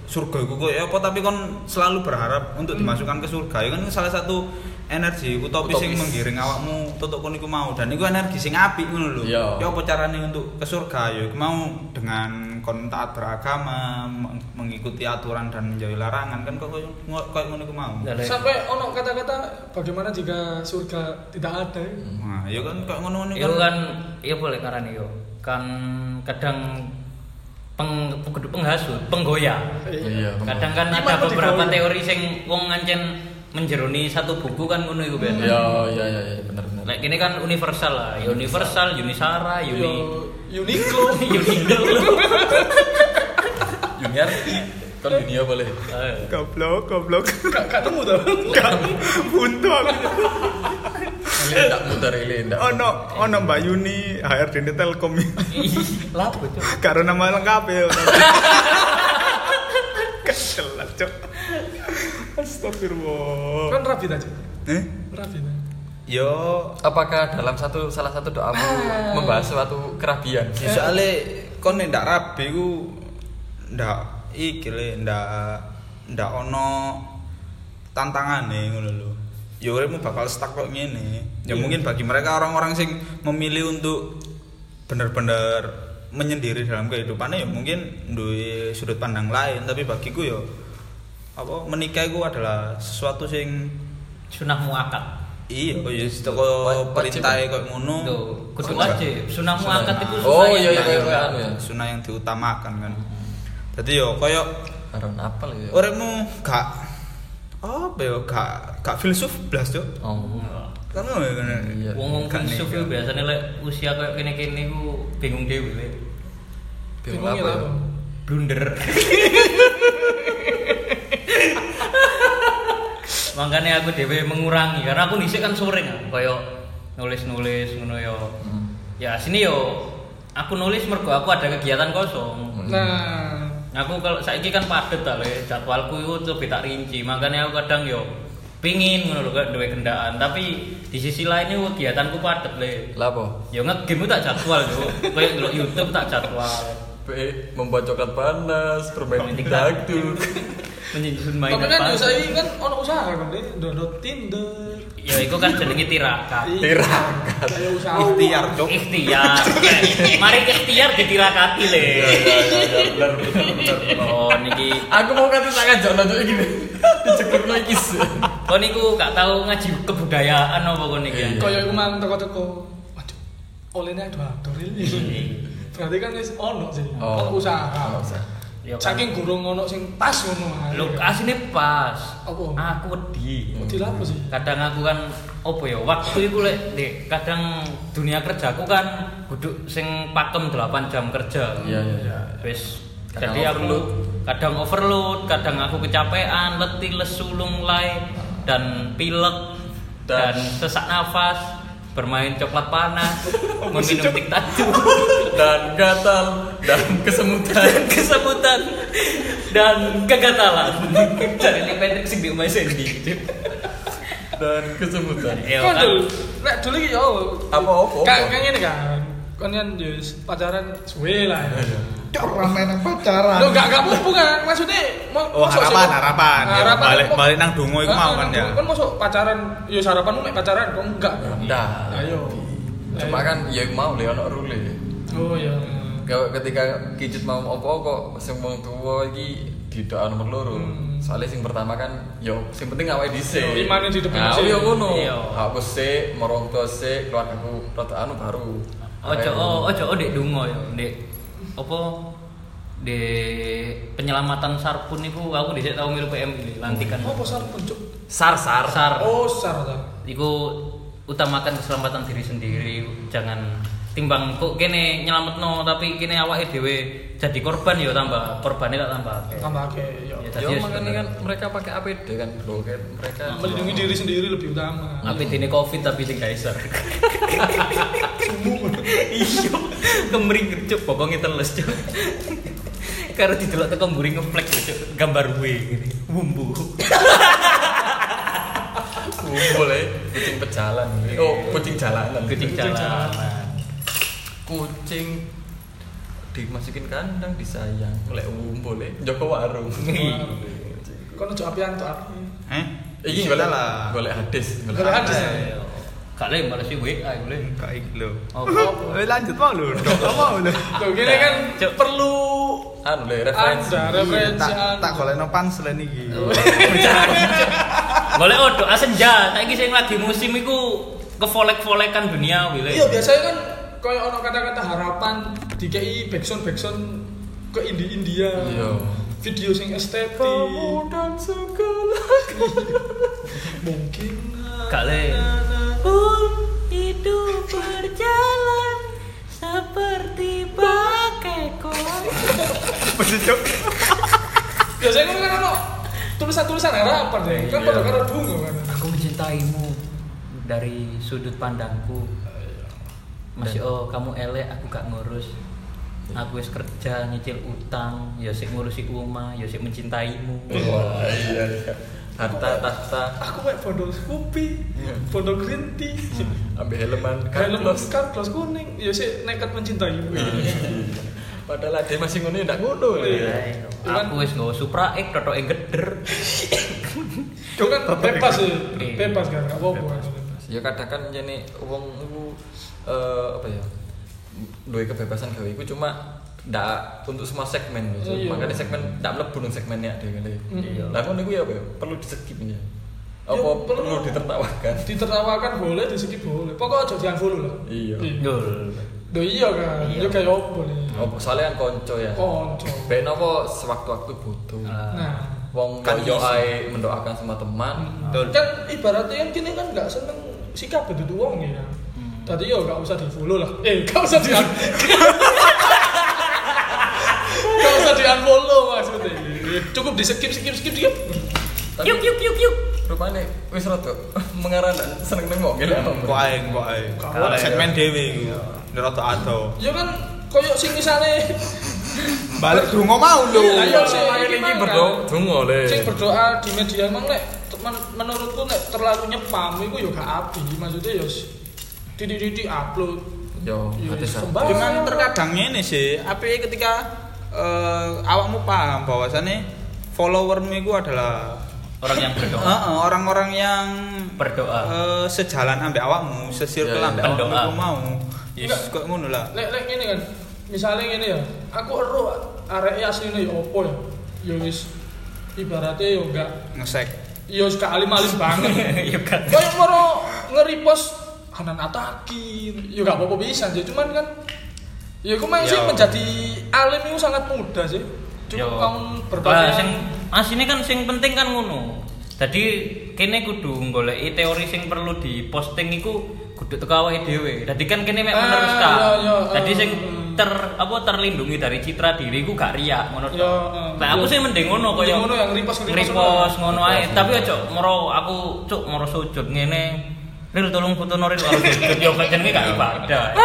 Speaker 2: surga iku kok apa tapi kon selalu berharap
Speaker 3: Hmm.
Speaker 2: untuk dimasukkan ke surga itu kan salah satu energi utopis, yang
Speaker 3: Utopis.
Speaker 2: menggiring awakmu tutup kon iku mau dan iku energi sing apik ngono lho
Speaker 3: Iya.
Speaker 2: ya apa carane untuk ke surga ya iku mau dengan kon taat beragama meng- mengikuti aturan dan menjauhi larangan kan kok koyo koyo ngono iku mau
Speaker 4: Lah, Le.
Speaker 1: Sampai ono kata-kata bagaimana jika surga tidak ada? ya?
Speaker 2: nah ya kan kok ngono-ngono
Speaker 4: Iya kan, iya boleh karena yo kan kadang peng, penghasut, penggoyah.
Speaker 3: Iya.
Speaker 4: Kadang kan
Speaker 1: Iman
Speaker 4: ada
Speaker 1: kok
Speaker 4: beberapa
Speaker 1: digoyah.
Speaker 4: teori sing wong ngancen menjeruni satu buku kan ngono iku ben.
Speaker 3: Iya iya iya iya, bener bener.
Speaker 4: Lek kini kan universal lah, ya universal, Unisara,
Speaker 1: Yo
Speaker 3: Iya.
Speaker 4: Uni
Speaker 1: Ya, Uniqlo.
Speaker 4: Uniqlo.
Speaker 3: Junior kan dunia boleh.
Speaker 4: Eh,
Speaker 2: goblok goblok
Speaker 1: Gak gak temu tuh.
Speaker 2: gak buntu aku
Speaker 3: Ini ndak muter ini ndak.
Speaker 2: ono ono Mbak Yuni HRD ini Telkom
Speaker 4: ih, Lapo Cuk?
Speaker 2: karo nama lengkap ya kecelak cok astagfirullah
Speaker 1: Kan rapi aja.
Speaker 2: eh
Speaker 1: Rapi aja.
Speaker 2: yo
Speaker 3: Apakah dalam satu salah satu doamu membahas suatu kerabian?
Speaker 2: ya soalnya kon nek ndak rabi ku ndak iki le ndak ndak ono tantangane ngono lho ya uripmu bakal stuck kok ngene ya mungkin bagi mereka orang-orang sing memilih untuk bener-bener menyendiri dalam kehidupannya ya mungkin duwe sudut pandang lain tapi bagiku ya apa menikah itu adalah sesuatu sing
Speaker 4: sunah muakat.
Speaker 2: iya kok ya
Speaker 3: Wajib.
Speaker 2: kok perintahe kok ngono
Speaker 4: Tuh, kudu
Speaker 2: Kok gak-
Speaker 4: wajib. Sunah muakat itu
Speaker 3: Oh,
Speaker 4: sunah
Speaker 3: iya,
Speaker 4: yang-
Speaker 3: iya, iya.
Speaker 2: Nah,
Speaker 3: anu ya.
Speaker 2: sunah yang diutamakan kan jadi yo koyo
Speaker 3: Karena apa lagi?
Speaker 2: orangmu gak apa ya gak gak filsuf blas yo
Speaker 3: Oh.
Speaker 2: kan ngono ya, kan?
Speaker 3: Iya.
Speaker 4: Wong-wong
Speaker 2: Gak
Speaker 4: filsuf
Speaker 2: nih,
Speaker 4: itu biasanya lek usia kayak kene-kene ku bingung dhewe. Le.
Speaker 3: Bingung apa? ya?
Speaker 4: blunder makanya aku dewe mengurangi karena aku nisik kan sering kaya nulis-nulis ngono yo
Speaker 3: Hmm.
Speaker 4: ya sini yo aku nulis mergo aku ada kegiatan kosong
Speaker 1: Nah,
Speaker 4: aku kalau saiki kan padet ta le jadwalku itu lebih tak rinci makanya aku kadang yo pingin ngono lho gak duwe kendaan tapi di sisi lain itu kegiatanku padet le
Speaker 3: Lah apa?
Speaker 4: yo ngegame ku tak jadwal yo kayak ndelok YouTube tak jadwal
Speaker 3: B. Membuat coklat panas, bermain
Speaker 4: Bermain
Speaker 3: dikdakduk
Speaker 4: menyusun
Speaker 1: tapi
Speaker 4: mainan
Speaker 1: kan
Speaker 4: palsu.
Speaker 1: usaha ini kan ono usaha kan deh. Download Tinder.
Speaker 4: ya itu kan jenenge tirakat
Speaker 3: Tirakat.
Speaker 1: Kayak usaha.
Speaker 2: ikhtiar cok
Speaker 4: Eh, ikhtiar mari ikhtiar ditirakati
Speaker 3: Eh,
Speaker 4: le
Speaker 3: Iya, Bener, bener, bener.
Speaker 4: oh niki
Speaker 3: Aku mau kata tak ngajak nonton ini Dicekuk no iki sih.
Speaker 4: kau niku gak tahu ngaji kebudayaan apa kau niki
Speaker 3: Iya.
Speaker 1: Kayak iku mang teko-teko. Waduh. Olehnya dua atur ini. Berarti kan wis ono sih.
Speaker 2: Oh.
Speaker 1: Ono
Speaker 3: Ono
Speaker 1: usaha.
Speaker 3: usaha.
Speaker 4: Ya kan.
Speaker 1: Saking gurung ono sing pas ngono. ae.
Speaker 4: lu asine pas
Speaker 1: Apa?
Speaker 4: aku wedi
Speaker 1: Wedi lapo sih?
Speaker 4: kadang aku kan opo ya waktu itu lek Dek, kadang dunia kerjaku kan duduk sing pakem 8 jam kerja
Speaker 3: Iya, iya, iya.
Speaker 4: wis
Speaker 3: Kadang
Speaker 4: jadi aku
Speaker 3: overload.
Speaker 4: kadang overload kadang aku kecapean letih lesu lunglai dan pilek dan
Speaker 3: Dan-
Speaker 4: sesak nafas bermain coklat panas, meminum tik tajuk,
Speaker 3: dan gatal dan kesemutan
Speaker 4: kesemutan dan kegatalan. Cari ini Patrick sing di rumah Sandy.
Speaker 3: dan kesemutan
Speaker 4: Yo,
Speaker 1: Kan
Speaker 4: kan.
Speaker 1: dulu, lek dulu iki yo.
Speaker 3: apa apa apa?
Speaker 1: Kayak kayak ngene kan. Kan kan yo pacaran suwe lah. ya.
Speaker 2: Ramai nang pacaran.
Speaker 1: Lo enggak enggak mumpung kan maksudnya mau
Speaker 2: Oh,
Speaker 1: masuk
Speaker 2: harapan,
Speaker 1: sih,
Speaker 2: harapan. Ya,
Speaker 1: Harapan,
Speaker 2: balik-
Speaker 1: mau-
Speaker 2: balik nang dungo iku
Speaker 1: Ah,
Speaker 2: mau kan,
Speaker 1: nang
Speaker 2: ya.
Speaker 1: dungo. Kan masuk pacaran, yo sarapanmu mek pacaran kok enggak.
Speaker 3: Nah,
Speaker 1: Ayo.
Speaker 3: cuma kan ya mau le ono rule
Speaker 1: Oh iya.
Speaker 3: Kalau ketika kicut mau apa kok sing wong tua iki didokno nomor loro soalnya sing pertama kan yo sing penting awake dhisik
Speaker 1: Hmm. Yo, imane di depan
Speaker 3: nah,
Speaker 1: dhisik.
Speaker 3: yo ngono
Speaker 4: Iya.
Speaker 3: aku sik marang tua sik keluargaku rada anu baru
Speaker 4: Ojo oh, ojo oh, dek dungo yo, dek apa dek penyelamatan sarpun niku aku dhisik tau milu PM iki lantikan.
Speaker 1: Oh, pasar pencuk.
Speaker 4: Sar sar. Sar.
Speaker 1: Oh, sar ta.
Speaker 4: Iku utamakan keselamatan diri sendiri, jangan timbang kok kene nyelametno tapi kene awake dhewe jadi korban yo tambah korbane tak tambah. akeh.
Speaker 1: Tambah iya. akeh yo.
Speaker 4: Ya, tadi
Speaker 3: yo
Speaker 4: ya
Speaker 3: makanya
Speaker 4: sebenarnya.
Speaker 3: kan mereka pakai APD kan bro kan mereka
Speaker 1: Nah, Melindungi diri sendiri lebih utama.
Speaker 4: Tapi dene covid tapi sing geyser. Iya, kemring cuk, bokonge teles cuk. Karo didelok teko mburi ngeplek cuk, gambar gue ngene. Wumbu.
Speaker 3: kumpul ya kucing pejalan oh kucing jalanan
Speaker 4: iya. Kucing jalan.
Speaker 3: kucing dimasukin kandang disayang lek kumpul ya joko warung
Speaker 1: Kono jo apian to api.
Speaker 2: Eh?
Speaker 3: Iki
Speaker 2: boleh
Speaker 3: golek
Speaker 2: lah.
Speaker 3: Golek hadis,
Speaker 1: Golek hadis.
Speaker 4: Gak le malah sih WA boleh.
Speaker 2: Enggak iki lho.
Speaker 4: Apa?
Speaker 2: Eh, lanjut mau lho. Dok, mau lho.
Speaker 1: Lho gini kan
Speaker 4: Cuk.
Speaker 1: perlu
Speaker 3: Anu le referensi.
Speaker 1: ada
Speaker 2: Iya,
Speaker 1: referensi. anu.
Speaker 2: Tak tak golekno punchline iki.
Speaker 4: Boleh odo asenja, saiki sing lagi musim iku kevolek-volekan dunia wile.
Speaker 1: Iya, biasanya kan koyo ono kata-kata harapan dikei backsound-backsound ke India-India.
Speaker 3: Iya.
Speaker 1: Video sing estetik.
Speaker 3: dan segala.
Speaker 1: Mungkin
Speaker 4: Gak le.
Speaker 5: hidup berjalan seperti pakai koin.
Speaker 1: biasanya kan ono tulisan-tulisan harapan deh. Kan
Speaker 3: Iya.
Speaker 1: pada karo dungo kan.
Speaker 4: Aku mencintaimu dari sudut pandangku. Masih oh kamu elek, aku gak ngurus. Aku wis kerja nyicil utang, ya sik ngurusi oma, ya sik mencintaimu.
Speaker 3: Wah, iya iya. Harta tahta
Speaker 1: Aku kayak bondol kopi,
Speaker 3: Iya.
Speaker 1: bondol green tea,
Speaker 3: ambil helman
Speaker 1: kayak lemas
Speaker 3: Carlos.
Speaker 1: kan kelas kuning, ya sih nekat mencintai.
Speaker 3: Padahal dia masih ngono ya, ndak ngono.
Speaker 1: Iya.
Speaker 4: Aku wis nggawa supra ek totoke geder.
Speaker 1: Itu kan bebas sih,
Speaker 4: Iya.
Speaker 1: bebas kan, gak apa-apa.
Speaker 3: Ya kadang kan jane wong iku eh, apa ya? Duwe kebebasan gawe iku cuma ndak untuk semua segmen gitu.
Speaker 1: Iya.
Speaker 3: makanya segmen ndak mlebu nang segmennya ada kali.
Speaker 1: Iya.
Speaker 3: Lah ngono iku ya apa ya? Perlu disekip ini. Apa
Speaker 1: Ya, perlu.
Speaker 3: perlu ditertawakan?
Speaker 1: Ditertawakan boleh, di skip boleh. Pokoknya aja jangan follow lah.
Speaker 3: Iya.
Speaker 4: Dul.
Speaker 1: Do iya kan,
Speaker 4: Iya.
Speaker 1: yo kayak apa nih?
Speaker 3: Oh, soalnya kan konco ya.
Speaker 1: Konco.
Speaker 3: Ben apa sewaktu-waktu butuh.
Speaker 1: Nah,
Speaker 3: Wong
Speaker 2: Kan
Speaker 3: kan yo
Speaker 2: isi.
Speaker 3: ae mendoakan sama teman.
Speaker 2: Betul.
Speaker 1: kan ibaratnya kan kini kan gak seneng sikap itu uang ya. Tadi yo gak usah di follow lah. Eh, gak usah di Gak usah di unfollow maksudnya. Cukup di skip skip skip skip.
Speaker 3: Tapi
Speaker 4: Yuk yuk yuk yuk.
Speaker 3: rupane wis rada mengarah dan seneng nang wong ngene.
Speaker 2: Kok ae, kok ae.
Speaker 1: Kok ae.
Speaker 2: Segmen dhewe iki. Nderot ado.
Speaker 1: Yo kan koyok sing misalnya
Speaker 2: Balik dungo mau lho.
Speaker 1: Iya, iya, sih.
Speaker 3: Main iki berdoa donga le.
Speaker 1: sing berdoa di media emang lek men- menurutku lek terlalu nyepam itu yo gak api maksudnya yo titik titik upload
Speaker 3: Yo,
Speaker 1: yo
Speaker 3: ate sa.
Speaker 1: sembah
Speaker 2: Cuman terkadang ini sih, api ketika eh, awakmu paham bahwasannya followermu itu adalah
Speaker 4: Orang yang
Speaker 2: eh,
Speaker 4: berdoa.
Speaker 2: eh, orang-orang yang
Speaker 4: Berdoa.
Speaker 2: eh, sejalan ambek awakmu, sesirkel
Speaker 3: Ya, ya,
Speaker 2: ambek awakmu
Speaker 4: pendoa.
Speaker 2: iku mau. Yes, kok ngono lah.
Speaker 1: lek lek ini kan misalnya ini ya aku ero arek asline yo opo ya yo wis ibaratnya yo gak
Speaker 2: Ngesek.
Speaker 1: yo gak alim-alim banget
Speaker 4: Yuk kan.
Speaker 1: koyo moro nge-repost Hanan Atakin yo gak apa-apa bisa sih cuman kan ya aku main sih
Speaker 2: Yo.
Speaker 1: menjadi alim itu sangat mudah sih cukup kamu
Speaker 4: Lah, sing
Speaker 1: berpakaian
Speaker 4: asine kan sing penting kan ngono. Jadi kene kudu goleki teori sing perlu diposting iku kudu teko awake dhewe. Dadi kan kene mek
Speaker 1: Ah,
Speaker 4: meneruskan.
Speaker 1: iya, iya,
Speaker 4: Dadi
Speaker 1: eh,
Speaker 4: sing
Speaker 1: eh.
Speaker 4: ter apa terlindungi dari citra diri ku gak riak ngono.
Speaker 1: Iya,
Speaker 4: toh.
Speaker 1: eh,
Speaker 4: Lah aku
Speaker 1: iya.
Speaker 4: sih mending ngono
Speaker 1: Mending
Speaker 4: koyo
Speaker 1: ngono yang repost, repost,
Speaker 4: repost
Speaker 1: repost.
Speaker 4: ngono ae. Tapi ojo moro aku cuk moro sujud ngene Ril tolong foto noril aku sujud yo kan jenenge gak ibadah.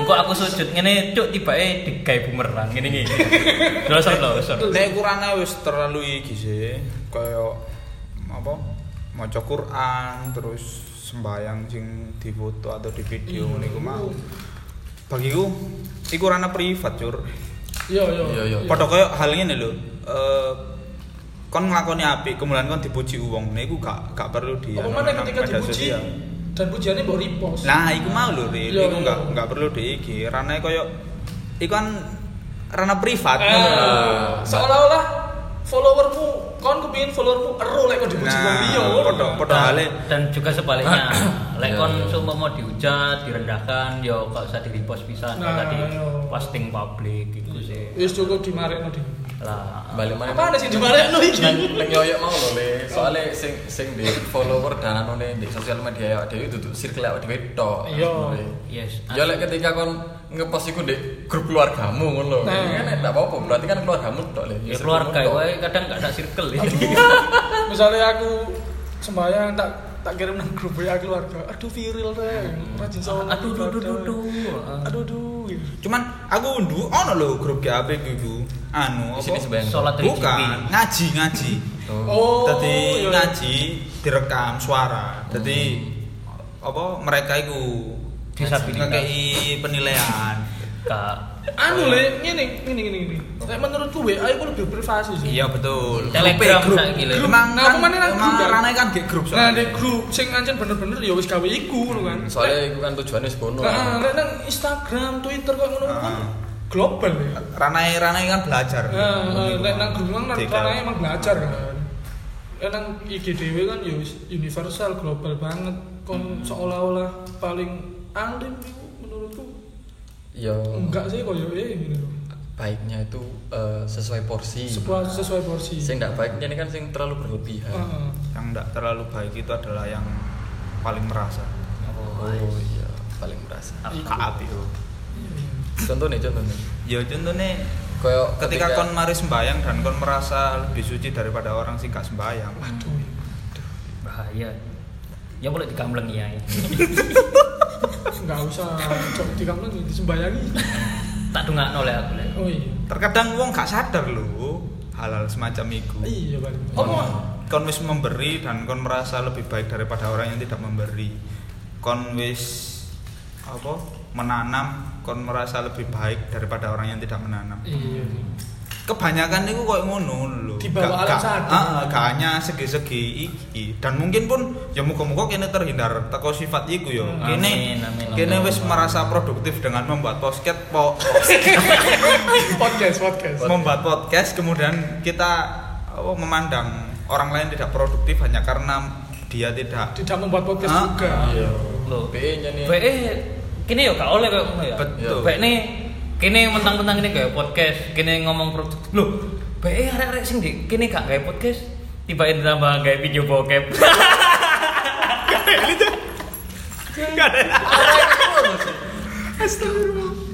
Speaker 4: Engko aku sujud ngene cuk tibake digawe bumerang ngene iki. Dosor dosor.
Speaker 2: Nek Qurane wis terlalu iki sih. Kayak apa? Maca Quran terus sembayang sing difoto atau di video niku mau. Bagiku iku ranah privat, Cur.
Speaker 1: Yo yo.
Speaker 3: Iya, iya.
Speaker 2: Padha kaya hal ngene lho. Eh kon nglakoni apik, kemudian kon dipuji wong. Niku gak gak perlu di
Speaker 1: Apa
Speaker 2: anu
Speaker 1: mana
Speaker 2: nang
Speaker 1: ketika
Speaker 2: media
Speaker 1: dipuji
Speaker 2: sosial.
Speaker 1: dan pujiannya mbok repost.
Speaker 2: Nah, iku mau lho, Ril.
Speaker 1: Iya,
Speaker 2: Iku
Speaker 1: iya.
Speaker 2: enggak enggak perlu diiki. Ranah kaya iku kan ranah privat.
Speaker 1: Eh,
Speaker 2: ngono lho.
Speaker 1: seolah-olah followermu, kon kepingin followermu ero lek kok dipuji wong liya.
Speaker 2: Nah, padha padha
Speaker 4: Dan,
Speaker 2: hale
Speaker 4: dan juga sebaliknya, lek
Speaker 3: Iya,
Speaker 4: kon
Speaker 3: iya.
Speaker 4: sumpah mau dihujat, direndahkan, yo gak usah di repost pisan
Speaker 1: Nah,
Speaker 4: tadi
Speaker 1: iya.
Speaker 4: posting publik gitu sih.
Speaker 1: Wis cukup dimarekno di.
Speaker 4: Lah,
Speaker 3: Balik mana?
Speaker 1: Apa ada sih dimarekno
Speaker 3: Nang
Speaker 1: iki?
Speaker 3: nang yoyok mau lho le. Soale sing sing di follower dan anu di sosial media ya dhewe itu circle awake dhewe tok.
Speaker 1: Iya.
Speaker 3: sebenarnya.
Speaker 4: yes.
Speaker 3: Ya lek ketika kon ngepost iku di grup keluargamu ngono lho.
Speaker 1: Nah.
Speaker 3: Kan enggak apa-apa, berarti kan keluargamu tok le. circlemu
Speaker 4: Ya keluarga
Speaker 3: tok.
Speaker 4: wae kadang gak ada circle ya.
Speaker 1: Misalnya aku sembahyang tak tak kirim nang grup WA keluarga. Aduh viral reng, rajin sholat.
Speaker 4: Aduh, aduh, aduh, aduh, aduh.
Speaker 1: Aduh, aduh. gitu.
Speaker 2: Cuman aku unduh ono lho grup GAP iku. Anu
Speaker 3: Di sini
Speaker 2: apa?
Speaker 3: sebenarnya.
Speaker 4: Sholat dari
Speaker 2: Bukan, ngaji, ngaji.
Speaker 3: Oh.
Speaker 1: Oh.
Speaker 2: Dadi
Speaker 1: iya.
Speaker 2: ngaji direkam suara. Dadi apa mereka iku
Speaker 4: Disabilitas.
Speaker 2: ngekei penilaian.
Speaker 4: Kak.
Speaker 1: Anu le, ngene, ngene, ngene, ngene. Lek menurutku WA itu lebih privasi sih.
Speaker 2: Iya betul.
Speaker 4: Telegram
Speaker 2: Grup,
Speaker 4: saiki lho.
Speaker 2: grup. Emang
Speaker 1: Nah,
Speaker 2: kan,
Speaker 1: apa mana nang
Speaker 2: emang
Speaker 1: grup ya?
Speaker 2: ranahnya kan gek grup
Speaker 1: Nah, di
Speaker 2: soalnya.
Speaker 1: grup sing ngancen bener-bener ya wis gawe iku ngono kan.
Speaker 3: Soale iku kan tujuannya sekono.
Speaker 1: Nah, lek nang Instagram, Twitter kok ngono kan
Speaker 2: Ah.
Speaker 1: global ya.
Speaker 2: Nah, Ranahnya ranahnya kan belajar.
Speaker 1: Nah, eh, lek nang grup kan
Speaker 2: Dekal.
Speaker 1: ranahnya emang belajar kan. Lek nang IG dhewe kan ya wis universal global banget. Kon seolah-olah paling alim iku menurutku
Speaker 3: Yo.
Speaker 1: enggak sih koyo eh gitu. loh.
Speaker 3: Baiknya itu eh, sesuai porsi.
Speaker 1: Sesuai sesuai porsi. Ah.
Speaker 3: Sing enggak baiknya ini kan sing terlalu berlebihan.
Speaker 1: Heeh.
Speaker 2: Yang tidak terlalu baik itu adalah yang paling merasa.
Speaker 3: Oh iya, paling merasa.
Speaker 1: Iya.
Speaker 2: Kaap itu.
Speaker 3: Contohnya contohnya.
Speaker 2: Ya contohnya
Speaker 3: Kayak
Speaker 2: ketika kon mari sembayang dan kon merasa lebih suci daripada orang sih gak sembayang.
Speaker 1: Aduh.
Speaker 4: Bahaya. Ya boleh dikamleng ya.
Speaker 1: Enggak usah cok di kamu nanti disembayangi.
Speaker 4: Tak dongakno lek aku lek.
Speaker 1: Oh iya.
Speaker 2: Terkadang wong gak sadar lho halal semacam itu.
Speaker 1: Iya paling.
Speaker 2: Kon, kon wis memberi dan kon merasa lebih baik daripada orang yang tidak memberi. Kon wis apa? menanam kon merasa lebih baik daripada orang yang tidak menanam.
Speaker 1: Iya. sih.
Speaker 2: kebanyakan itu kok ngono lho
Speaker 1: Di bawah alam sadar.
Speaker 2: heeh, gak hanya segi-segi iki dan mungkin pun ya muga-muga kene terhindar teko sifat iku ya
Speaker 1: Hmm.
Speaker 2: kene
Speaker 4: Amin, amin, amin.
Speaker 2: kene wis merasa produktif dengan membuat podcast po,
Speaker 1: Podcast, podcast.
Speaker 2: membuat podcast kemudian kita apa, memandang orang lain tidak produktif hanya karena dia tidak
Speaker 1: Tidak membuat podcast
Speaker 2: Ah,
Speaker 1: juga.
Speaker 3: Iya.
Speaker 4: Loh.
Speaker 3: BE-nya nih.
Speaker 4: Be kini yo gak oleh koyo ngono ya.
Speaker 2: Betul.
Speaker 4: Be ne kini mentang-mentang ini kayak podcast, kini ngomong produk. Loh, be eh arek-arek sing di kini gak kayak podcast, tiba tambah kayak video bokep.
Speaker 2: Gak ada.
Speaker 1: Astagfirullah.